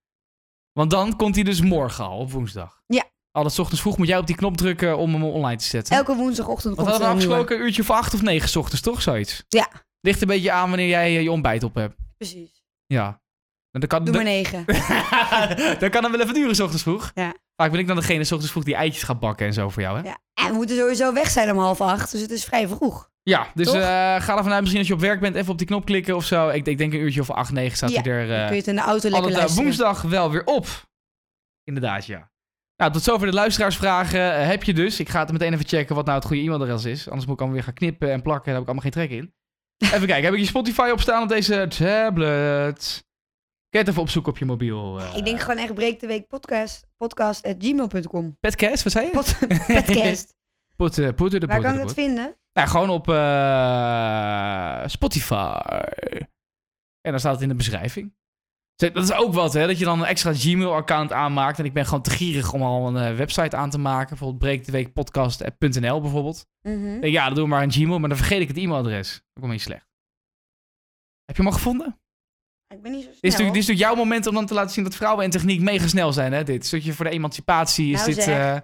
Want dan komt hij dus morgen al, op woensdag. Ja. Al dat 's ochtends vroeg moet jij op die knop drukken om hem online te zetten. Elke woensdagochtend Want komt we hadden er een nieuwe. afgesproken een uurtje voor acht of negen 's ochtends, toch? Zoiets. Ja. Ligt een beetje aan wanneer jij eh, je ontbijt op hebt. Precies. Ja. Dan kan, Doe maar negen. dan kan het wel even duren, s ochtends vroeg. Ja. Vaak ben ik dan degene, s ochtends vroeg, die eitjes gaat bakken en zo voor jou, hè? Ja. En we moeten sowieso weg zijn om half acht, dus het is vrij vroeg. Ja, dus Toch? eh, ga ervan uit, misschien als je op werk bent, even op die knop klikken of zo. Ik, ik denk een uurtje of acht, negen staat Ja, hij er Dan eh, kun je het in de auto lekker altijd eh, luisteren. woensdag wel weer op. Inderdaad, ja. Nou, tot zover de luisteraarsvragen Eh, heb je dus. Ik ga het meteen even checken wat nou het goede e-mailadres is. Anders moet ik allemaal weer gaan knippen en plakken. Daar heb ik allemaal geen trek in. Even kijken, heb ik je Spotify op staan op deze tablet? Kijk het even opzoeken op je mobiel. eh. Ik denk gewoon echt breek de week podcast, podcast at gmail.com. Petcast, wat zei je? Pod, podcast. Poeten, poeten, de Waar poeten, de kan ik dat poeten. vinden? Nou, gewoon op eh, Spotify. En dan staat het in de beschrijving. Zet- Dat is ook wat, hè? Dat je dan een extra Gmail-account aanmaakt. En ik ben gewoon te gierig om al een eh, website aan te maken. Bijvoorbeeld breekdeweekpodcast.nl bijvoorbeeld. Mhm. Ik denk, Ja, dan doen we maar een Gmail, maar dan vergeet ik het e-mailadres. Dat komt niet slecht. Heb je hem al gevonden? Ik ben niet zo snel. Dit is, natuurlijk, dit is natuurlijk jouw moment om dan te laten zien dat vrouwen en techniek mega snel zijn, hè? Dit. Zodat je voor de emancipatie is Nou, dit... zeg. eh,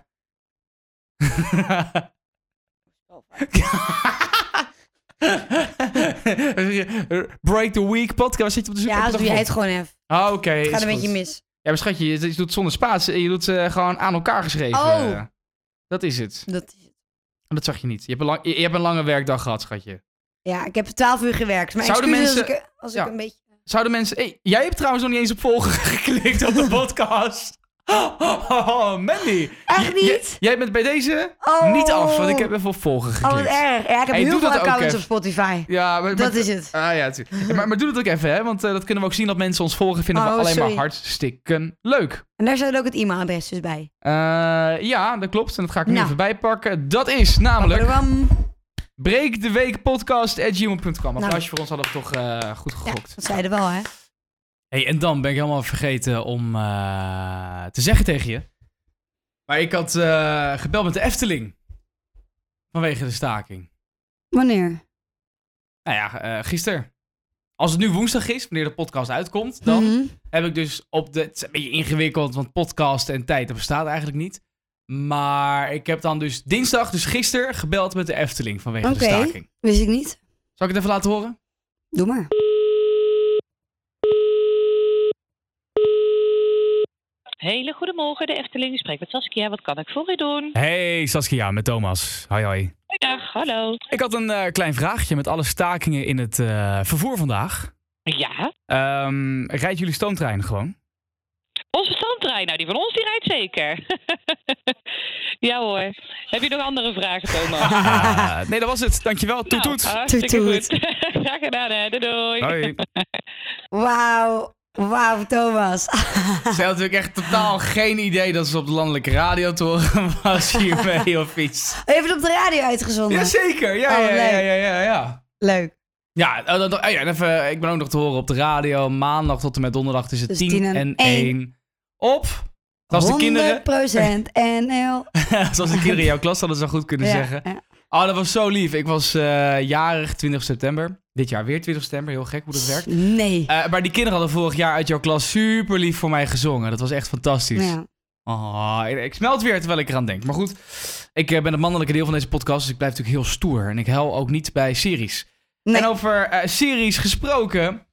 Break the Week podcast. Zit je op de zoek? ja, Heb je dat dan doe jij het gevonden? gewoon even. Ah, oké. Het is gaat een beetje goed. mis. Ja, maar schatje, je, je doet zonder spaas. Je doet ze gewoon aan elkaar geschreven. Oh. Dat is het. Dat, Dat zag je niet. Je hebt een, lang, je, je hebt een lange werkdag gehad, schatje. ja, ik heb 12 uur gewerkt. Maar Zouden excuses mensen- als ik, als Ja. ik een beetje... Zouden mensen... Hey, jij hebt trouwens nog niet eens op volgen geklikt op de podcast. Oh, Mandy. Echt J- j- niet? jij bent bij deze Oh. niet af, want ik heb even op volgen Oh, geklikt. wat erg. Ja, ik heb Hey, doe heel veel dat ook accounts even. op Spotify. Ja, maar, maar- Dat is het. Ah ja, natuurlijk. Ja, maar, maar doe dat ook even, hè? Want eh, dat kunnen we ook zien dat mensen ons volgen. Vinden we Oh, alleen maar sorry. hartstikke leuk. En daar staat ook het e-mailadres dus bij. Eh, ja, dat klopt. En dat ga ik nu Nou. even bijpakken. Dat is namelijk Badabam. breekdeweekpodcast.gmail.com. Nou. Applausje voor ons hadden we toch eh, goed Ja, gegokt. dat zeiden wel, hè? Hey, en dan ben ik helemaal vergeten om eh, te zeggen tegen je. Maar ik had eh, gebeld met de Efteling. Vanwege de staking. Wanneer? Nou ja, eh gisteren. Als het nu woensdag is, wanneer de podcast uitkomt, dan... Mhm. heb ik dus op de. Het is een beetje ingewikkeld, want podcast en tijd, dat bestaat eigenlijk niet. Maar ik heb dan dus dinsdag, dus gisteren, gebeld met de Efteling vanwege de Oké. staking. Wist ik niet. Zal ik het even laten horen? Doe maar. Hele goedemorgen, de Efteling. U spreekt met Saskia. Wat kan ik voor u doen? Hey Saskia, met Thomas. Hoi hoi. Goeiedag, hallo. Ik had een eh, klein vraagje met alle stakingen in het eh, vervoer vandaag. Ja, Ehm rijdt jullie stoomtrein gewoon? onze stoomtrein. Nou, die van ons, die rijdt zeker. ja hoor. Heb je nog andere vragen, Thomas? Ah, nee, dat was het. Dankjewel. Toet Nou, toet. hartstikke Toet, goed. Graag gedaan, hè. Doei, doei. eh, Hoi. Wauw. Wauw, Thomas. Ze had natuurlijk echt totaal geen idee dat ze op de landelijke radio te horen was hiermee of iets. Even op de radio uitgezonden. Jazeker, ja, Oh, ja, ja, leuk. ja, ja, ja. Leuk. Ja, oh, dat- oh, ja, en even, ik ben ook nog te horen op de radio. Maandag tot en met donderdag tussen Dus 10, en, 1. één. Op! Zoals de kinderen, 100% NL. zoals de kinderen in jouw klas hadden ze goed kunnen Ja, zeggen. ja. Oh, dat was zo lief. Ik was eh, jarig 20 september. Dit jaar weer 20 september. Heel gek hoe dat werkt. Nee. Eh, maar die kinderen hadden vorig jaar uit jouw klas super lief voor mij gezongen. Dat was echt fantastisch. Nou Ja. Ah, ik, ik smelt weer terwijl ik eraan denk. Maar goed, ik eh, ben het mannelijke deel van deze podcast, dus ik blijf natuurlijk heel stoer. En ik huil ook niet bij series. Nee. En over eh, series gesproken.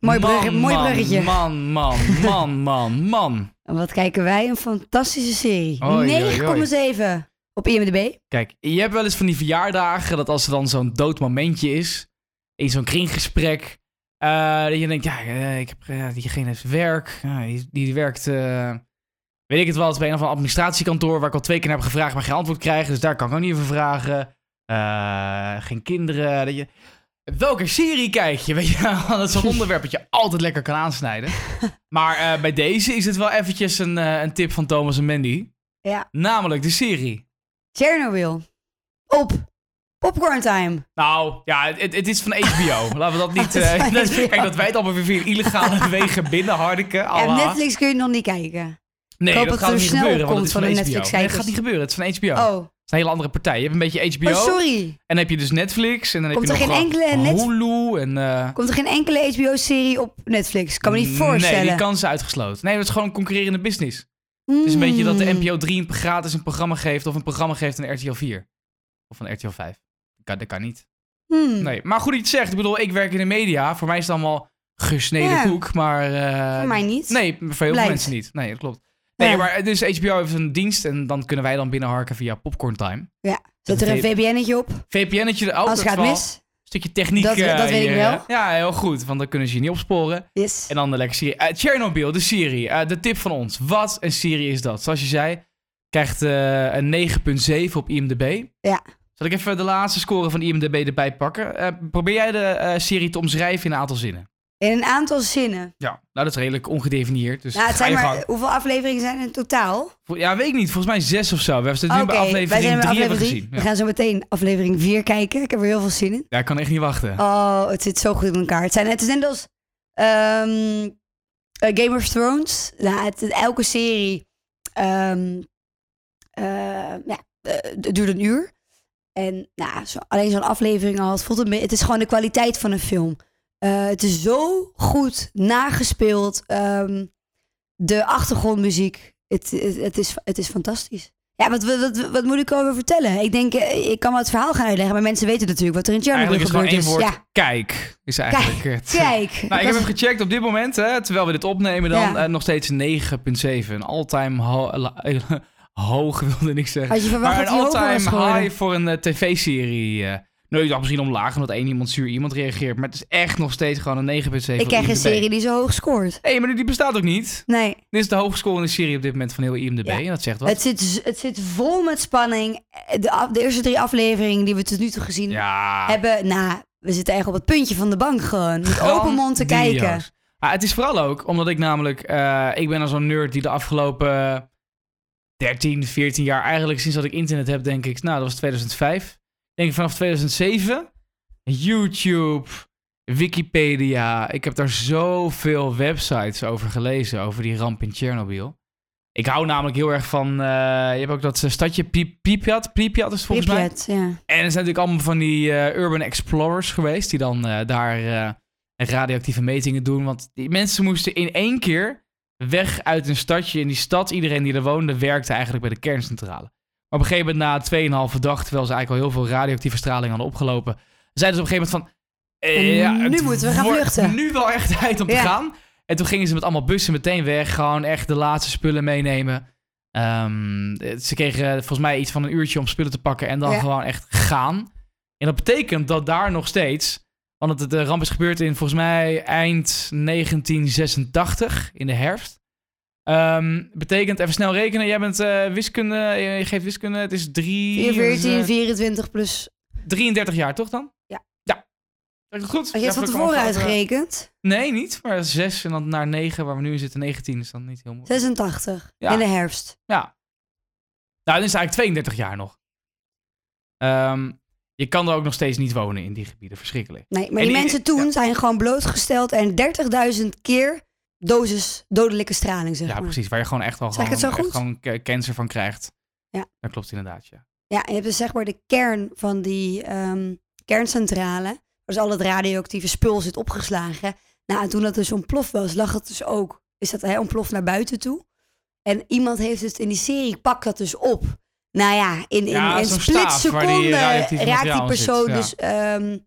Mooi brugge- mooi bruggetje. Man, man, man, man, man. En Wat kijken wij? Een fantastische serie. Oei, oei, oei. 9,7 op IMDb. Kijk, je hebt wel eens van die verjaardagen dat als er dan zo'n dood momentje is, in zo'n kringgesprek, eh, dat je denkt, ja, eh, ik heb, eh, diegene heeft werk, Ja, die, die werkt, eh, weet ik het wel, het is bij een of ander administratiekantoor waar ik al twee keer naar heb gevraagd, maar geen antwoord krijgen, dus daar kan ik ook niet over vragen. Eh, geen kinderen, dat je... Welke serie kijk je? Weet je, wel? dat is een onderwerp dat je altijd lekker kan aansnijden. Maar eh, bij deze is het wel eventjes een, eh, een tip van Thomas en Mandy. Ja. Namelijk de serie. Chernobyl. Op. Popcorn time. Nou, ja, het, het is van HBO. Laten we dat niet... Het is eh, van dat- HBO. kijk, dat wij het allemaal weer via illegale wegen binnen harken. Ja, Allah. op Netflix kun je nog niet kijken. nee, ik hoop dat dat gaat het niet er snel gebeuren, want het opkomt is van, van HBO. de Nee, dat Netflix-kijkers. gaat niet gebeuren. Het is van HBO. Het Oh. is een hele andere partij. Je hebt een beetje HBO. oh, sorry. En dan heb je dus Netflix. En dan Komt heb er je nog geen eh, enkele net- Hulu. En, eh, Komt er geen enkele HBO-serie op Netflix? Kan me niet Nee, voorstellen. die kans is uitgesloten. Nee, dat is gewoon een concurrerende business. Het Hmm. is een beetje dat de NPO 3 een gratis een programma geeft... of een programma geeft aan RTL 4. Of aan RTL 5. Dat kan, dat kan niet. Hmm. Nee, maar goed dat je het zegt. Ik bedoel, ik werk in de media. Voor mij is het allemaal gesneden Ja. koek, maar... eh, Voor mij niet. Nee, voor heel veel Blijkt. mensen niet. Nee, dat klopt. Nee, Ja. maar dus HBO heeft een dienst en dan kunnen wij dan binnenharken via Popcorn Time. Zet er een VPN'tje op VPN'tje, oh, als dat het gaat wel. mis. stukje techniek. Dat- eh, dat weet ik hier, wel. eh. Ja, heel goed, want dan kunnen ze je niet opsporen. Yes. En dan de lekker serie. Eh, Chernobyl, de serie. Eh, de tip van ons. Wat een serie is dat? Zoals je zei, krijgt eh, een 9,7 op IMDb. Ja. Zal ik even de laatste score van IMDb erbij pakken? Eh, probeer jij de eh, serie te omschrijven in een aantal zinnen? In een aantal zinnen. Ja. Nou, dat is redelijk ongedefinieerd. Dus Nou, het ga je zijn maar, gang. hoeveel afleveringen zijn er in totaal? Vo- Ja, weet ik niet. Volgens mij zes of zo. We zitten nu bij wij zijn aflevering bij drie hebben aflevering we drie. gezien. We Ja. gaan zo meteen aflevering 4 kijken. Ik heb er heel veel zin in. ja, ik kan echt niet wachten. Oh, het zit zo goed in elkaar. Het, zijn, het is net als ehm, eh, Game of Thrones. Nou, het, elke serie ehm, eh, ja, eh, het duurt een uur. En nou, zo, alleen zo'n aflevering al. Het, voelt een be- het is gewoon de kwaliteit van een film. Eh, het is zo goed nagespeeld. Ehm, de achtergrondmuziek. Het, het, het is, het is fantastisch. Ja, wat, wat, wat, wat moet ik over vertellen? Ik denk, eh, ik kan wel het verhaal gaan uitleggen, maar mensen weten natuurlijk wat er in Chernobyl Eigenlijk is het gebeurd gewoon is. één woord. Ja. Kijk, is eigenlijk het. Kijk. Nou, ik dat heb is- hem gecheckt op dit moment, hè, terwijl we dit opnemen, dan Ja. eh, nog steeds 9,7. Een all-time ho- la- hoog, wilde ik zeggen. Had je verwacht maar dat hij een hoger was all-time geworden? high voor een eh, tv-serie. eh. nee, ik dacht misschien omlaag, omdat één iemand zuur iemand reageert. Maar het is echt nog steeds gewoon een 9,7. ik op krijg een IMDb. serie die zo hoog scoort. Hé, maar die bestaat ook niet. Nee, Dit is de hoogscorende serie op dit moment van heel IMDb. Ja. En dat zegt wat. het zit, z- het zit vol met spanning. Eh, De, af- de eerste drie afleveringen die we tot nu toe gezien ja. hebben, nou, we zitten echt op het puntje van de bank gewoon. Met open mond te Grandioos. kijken. Ah, het is vooral ook omdat ik namelijk... eh, ik ben al zo'n nerd die de afgelopen 13, 14 jaar... eigenlijk sinds dat ik internet heb, denk ik... Nou, dat was 2005. Denk ik vanaf 2007. YouTube, Wikipedia. Ik heb daar zoveel websites over gelezen. Over die ramp in Tsjernobyl. Ik hou namelijk heel erg van... eh, je hebt ook dat eh, stadje Pri- Pripyat. Pripyat is het volgens mij. Pripyat, ja. En er zijn natuurlijk allemaal van die eh, urban explorers geweest die dan eh, daar eh, radioactieve metingen doen. Want die mensen moesten in één keer weg uit een stadje. In die stad, iedereen die er woonde, werkte eigenlijk bij de kerncentrale. Maar op een gegeven moment na 2,5 dag, terwijl ze eigenlijk al heel veel radioactieve straling hadden opgelopen, zeiden ze op een gegeven moment van... eh, En ja, nu het moeten we gaan wordt vluchten. nu wel echt tijd om te Ja. gaan. En toen gingen ze met allemaal bussen meteen weg. Gewoon echt de laatste spullen meenemen. Ehm, het- ze kregen eh, volgens mij iets van een uurtje om spullen te pakken en dan Ja. gewoon echt gaan. En dat betekent dat daar nog steeds, want het, de ramp is gebeurd in volgens mij eind 1986 in de herfst. Ehm, betekent, even snel rekenen, jij bent eh, wiskunde, eh, je geeft wiskunde, het is drie, 14, eh, 24 plus. 33 jaar toch dan? Ja. Ja. Zeg ik het goed? Had je het Even van kom tevoren even- uitgerekend? Nee, niet. Maar 6 en dan naar 9, waar we nu in zitten, 19 is dan niet heel mooi. 86. Ja. In de herfst. Nou, dan is het eigenlijk 32 jaar nog. Ehm, je kan er ook nog steeds niet wonen in die gebieden. Verschrikkelijk. Nee, maar En die die- mensen toen ja. zijn gewoon blootgesteld en 30.000 keer dosis dodelijke straling, zeg ja, maar. precies. Waar je gewoon echt al Zeg ik gewoon, het zo echt goed? gewoon k- cancer van krijgt. Ja. Dat klopt inderdaad, ja. Ja, en je hebt dus zeg maar de kern van die ehm, kerncentrale, waar dus al het radioactieve spul zit opgeslagen. Nou, en toen dat dus ontploft was, lag het dus ook, is dat hij ontploft naar buiten toe. En iemand heeft het in die serie, pak dat dus op. Nou ja, in, in, Ja, in zo'n split staaf waar die seconde raakt radioactieve materiaal die in persoon zit, ja. dus ehm,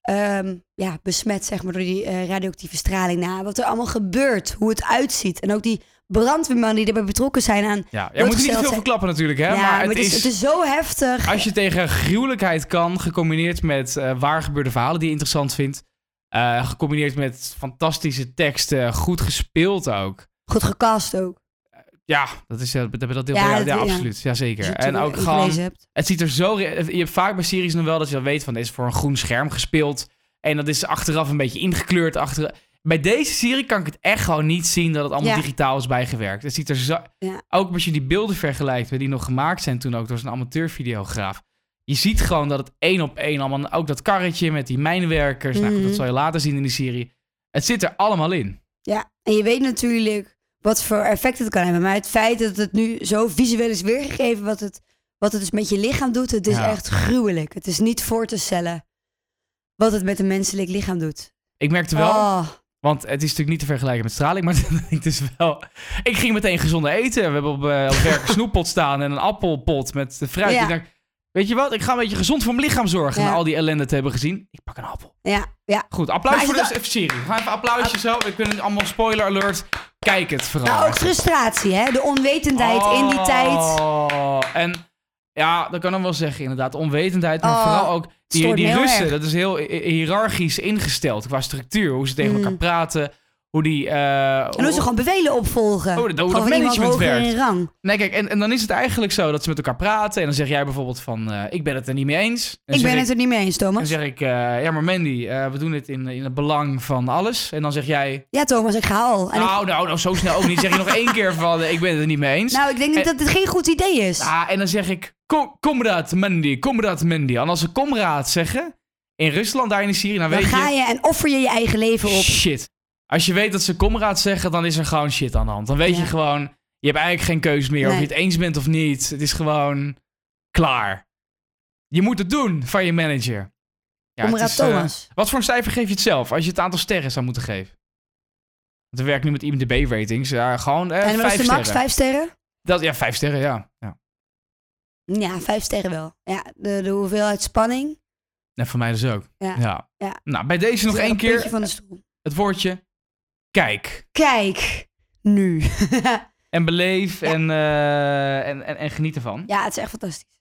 ehm, ja, besmet zeg maar, door die eh, radioactieve straling. Nou, wat er allemaal gebeurt, hoe het uitziet. En ook die brandweerman die erbij betrokken zijn aan... Ja, je moet er niet te gesteld, veel hè? verklappen natuurlijk, hè. Ja, maar het, is, het is zo heftig. als je tegen gruwelijkheid kan, gecombineerd met eh, waar gebeurde verhalen die je interessant vindt, eh, gecombineerd met fantastische teksten, goed gespeeld ook. Goed gecast ook. Ja, dat is eh, dat, dat, dat deel Ja, van jou. dat- ja, ja. absoluut. Jazeker. Als je En Dus het ook gelezen gewoon, hebt. het ziet er zo... re- Je hebt vaak bij series nog wel dat je dan weet van, dit is voor een groen scherm gespeeld. En dat is achteraf een beetje ingekleurd. Achter... Bij deze serie kan ik het echt gewoon niet zien dat het allemaal Ja. digitaal is bijgewerkt. Het ziet er zo... Ja. Ook als je die beelden vergelijkt met die nog gemaakt zijn toen ook door zo'n amateurvideograaf. Je ziet gewoon dat het één op één allemaal... Ook dat karretje met die mijnwerkers. Nou goed, Mhm. dat zal je later zien in die serie. Het zit er allemaal in. Ja, en je weet natuurlijk wat voor effect het kan hebben. Maar het feit dat het nu zo visueel is weergegeven, wat het, wat het dus met je lichaam doet, het is Ja. echt gruwelijk. Het is niet voor te stellen wat het met een menselijk lichaam doet. Ik merkte wel... Oh, Want het is natuurlijk niet te vergelijken met straling, maar het is dus wel... Ik ging meteen gezonder eten. We hebben op, eh, op werk een snoeppot staan en een appelpot met de fruit. Ja. Ik dacht, weet je wat, ik ga een beetje gezond voor mijn lichaam zorgen. Ja. Na al die ellende te hebben gezien, ik pak een appel. Ja, ja. Goed, applaus Maar voor is het de serie. We gaan even applausje zo. We kunnen allemaal spoiler alert. Kijk het vooral. Nou, ook frustratie, hè? De onwetendheid in die tijd. Oh, En ja, dat kan ik wel zeggen, inderdaad. Onwetendheid, maar Oh, vooral ook die, stoort me die heel Russen. erg. Dat is heel hi- hiërarchisch ingesteld qua structuur. Hoe ze tegen Mm. elkaar praten. Hoe die... eh, En hoe ze gewoon bevelen opvolgen. Oh, dat- hoe Gewoon dat van iemand management hoger werkt. in rang. Nee, kijk, en, en dan is het eigenlijk zo dat ze met elkaar praten. En dan zeg jij bijvoorbeeld van, eh, ik ben het er niet mee eens. En ik zeg ben het er niet mee eens, Dan Thomas. zeg ik, eh, ja maar Mandy, eh, we doen dit in, in het belang van alles. En dan zeg jij, Ja, Thomas, ik ga al. En ik- nou, nou, nou, zo snel ook niet. Zeg je nog één keer van, eh, ik ben het er niet mee eens. nou, ik denk niet dat dit geen goed idee is. Ah, en dan zeg ik, kom, comrade Mandy, comrade Mandy. En als ze comraad zeggen, in Rusland, daar in de Syrië, dan, Dan weet ga je, je en offer je je eigen leven op. shit. Als je weet dat ze comraad zeggen, dan is er gewoon shit aan de hand. Dan weet je Ja. gewoon, je hebt eigenlijk geen keus meer of Nee. je het eens bent of niet. Het is gewoon klaar. Je moet het doen van je manager. Ja, Comrade het is, eh, Thomas. Wat voor een cijfer geef je het zelf als je het aantal sterren zou moeten geven? Want we werken nu met IMDb-ratings. Ja, gewoon eh, en wat vijf is de max? sterren. Vijf sterren? Dat, ja, vijf sterren, ja. ja. Ja, vijf sterren wel. Ja, de, de hoeveelheid spanning. En voor mij dus ook. Ja. ja. Ja. Nou, bij deze nog Een één puntje keer Van de stoel. het woordje kijk Kijk, nu. en beleef en, eh, en, en, en geniet ervan. ja, het is echt fantastisch.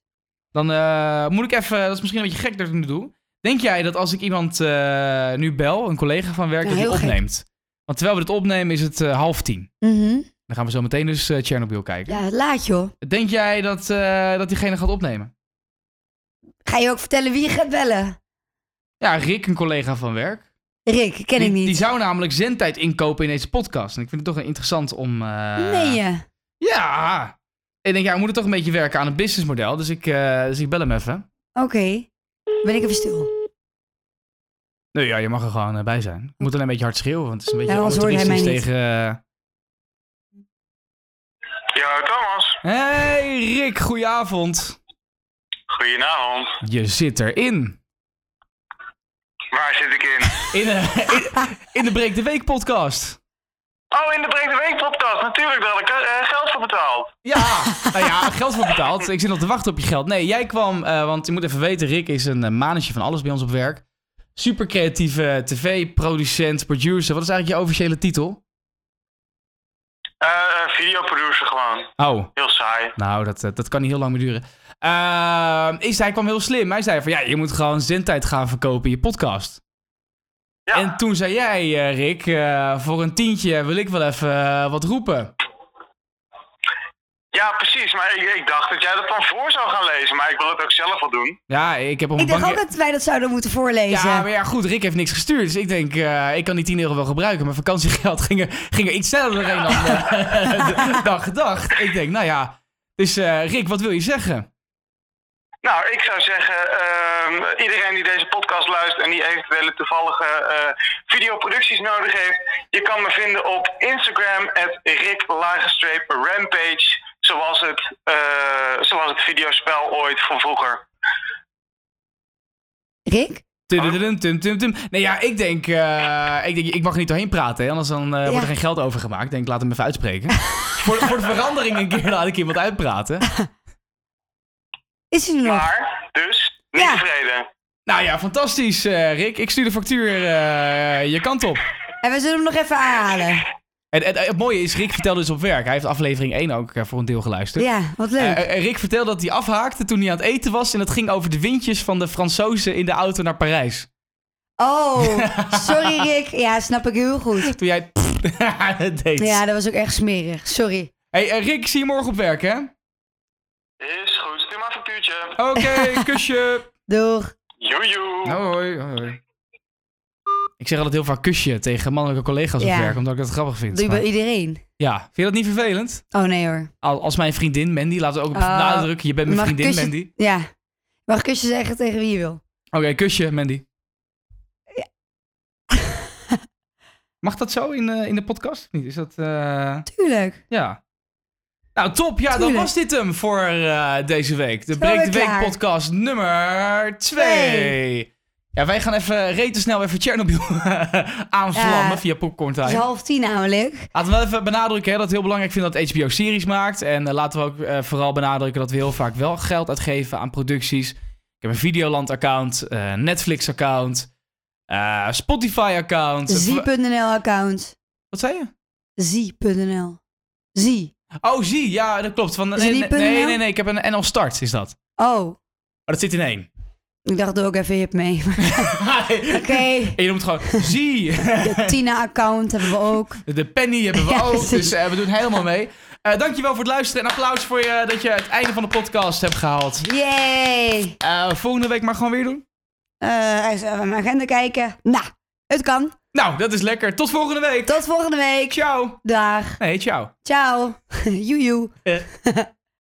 Dan eh, moet ik even, dat is misschien een beetje gek dat ik het nu doe. Denk jij dat als ik iemand eh, nu bel, een collega van werk, Ja, dat die heel gek. opneemt? Want terwijl we dit opnemen is het eh, half tien. Mhm. Dan gaan we zo meteen dus eh Chernobyl kijken. Ja, laat joh. Denk jij dat, eh, dat diegene gaat opnemen? Ga je ook vertellen wie je gaat bellen? Ja, Rick, een collega van werk. Rick, ken die, ik niet. Die zou namelijk zendtijd inkopen in deze podcast. En ik vind het toch wel interessant om... eh, Nee, je. Ja. Ik denk, ja, we moeten toch een beetje werken aan een businessmodel. Dus ik, eh, dus ik bel hem even. Oké. Ben ik even stil. Nee, ja, je mag er gewoon eh, bij zijn. Ik moet alleen een beetje hard schreeuwen, want het is een beetje Ja, anders hoort hij mij amateuristisch niet. tegen... eh, Ja, Thomas. Hey Rick, goedenavond. Goedenavond. Je zit erin. Waar zit ik in? In, eh, in, in de Breek de Week podcast. Oh, in de Breek de Week podcast. Natuurlijk, daar had ik eh, geld voor betaald. Ja, nou ja, geld voor betaald. Ik zit nog te wachten op je geld. Nee, jij kwam, eh, want je moet even weten, Rick is een eh, manetje van alles bij ons op werk. Super creatieve tv-producent, producer. Wat is eigenlijk je officiële titel? Eh videoproducer gewoon. Oh, Heel saai. nou, dat, eh, dat kan niet heel lang meer duren. Eh, is, hij kwam heel slim. Hij zei van, ja, je moet gewoon zendtijd gaan verkopen in je podcast. Ja, En toen zei jij, eh, Rick, eh, voor een tientje wil ik wel even eh, wat roepen. ja precies. Maar ik, ik dacht dat jij dat dan voor zou gaan lezen. Maar ik wil het ook zelf wel doen. Ja, ik heb op Ik een dacht bankje... ook dat wij dat zouden moeten voorlezen. Ja, maar ja, goed, Rick heeft niks gestuurd. Dus ik denk, eh, ik kan die 10 euro wel gebruiken. Maar vakantiegeld ging er, ging er iets sneller doorheen dan, eh, dan gedacht. Ik denk, nou ja. Dus eh, Rick, wat wil je zeggen? Nou, ik zou zeggen, ehm, iedereen die deze podcast luistert en die eventuele toevallige eh, videoproducties nodig heeft, je kan me vinden op Instagram at Rick Lagerstreep Rampage, zoals het, eh, zoals het videospel ooit van vroeger. Rick? Tudududum, tum, tum, tum. Nee, ja, ik denk, eh, ik denk, ik mag er niet doorheen praten, hè, anders dan eh, wordt Ja. er geen geld overgemaakt. Ik denk, laat hem even uitspreken. voor, voor de verandering een keer laat ik iemand uitpraten. Is hij er nog? Maar, dus, niet Ja. tevreden. Nou ja, fantastisch, eh, Rick. Ik stuur de factuur eh, je kant op. En we zullen hem nog even aanhalen. En, en, eh, het mooie is, Rick vertelde dus op werk. Hij heeft aflevering 1 ook eh, voor een deel geluisterd. Ja, wat leuk. Eh, eh, Rick vertelde dat hij afhaakte toen hij aan het eten was. En het ging over de windjes van de Fransozen in de auto naar Parijs. oh, sorry Rick. Ja, snap ik heel goed. Toen jij dat deed. Ja, dat was ook echt smerig. Sorry. Hey, eh, Rick, zie je morgen op werk, hè? Is goed, stuur maar een factuurtje. Oké, kusje. Doeg. Joejoe. Nou, Hoi, hoi. Ik zeg altijd heel vaak kusje tegen mannelijke collega's op Ja. werk, omdat ik dat grappig vind. Doe je Maar- bij iedereen? ja, vind je dat niet vervelend? Oh nee hoor. Al- Als mijn vriendin Mandy, laten we ook Oh. nadrukken, je bent mijn Mag ik vriendin kusje- Mandy. Ja. Mag ik kusje zeggen tegen wie je wil? Oké, kusje Mandy. Mag dat zo in, eh, in de podcast? of Niet? Is dat... eh, Tuurlijk. Ja. Nou, top. Ja, dan Tuurlijk. was dit hem voor eh, deze week. De Zo weer Breek de Week klaar. podcast nummer 2. Ja, wij gaan even rete snel even Chernobyl aanvlammen Ja. via Popcorn Het is Time. half tien namelijk. Laten we wel even benadrukken hè, dat we heel belangrijk vinden dat HBO series maakt. En eh, laten we ook eh, vooral benadrukken dat we heel vaak wel geld uitgeven aan producties. Ik heb een Videoland-account, eh, Netflix-account. eh, Spotify-account. Zie.nl-account. Wat zei je? Zie.nl. Zie. Oh, zie. Ja, dat klopt. Van, nee, Is het nee, niet nee, .nl? nee, nee, Ik heb een NL Start, is dat. Maar Oh, dat zit in één. ik dacht doe ook even hip mee. Oké. En je noemt gewoon zie. De Tina-account hebben we ook. De penny hebben we Ja, ook, precies. dus eh, we doen helemaal mee. Eh, dankjewel voor het luisteren en applaus voor je dat je het einde van de podcast hebt gehaald. Yay! Eh, volgende week maar gewoon weer doen. Eh even aan mijn agenda kijken. Nou, het kan. Nou, dat is lekker. Tot volgende week. Tot volgende week. Ciao. Dag. Nee, ciao. Eh, Ciao. Joejoe.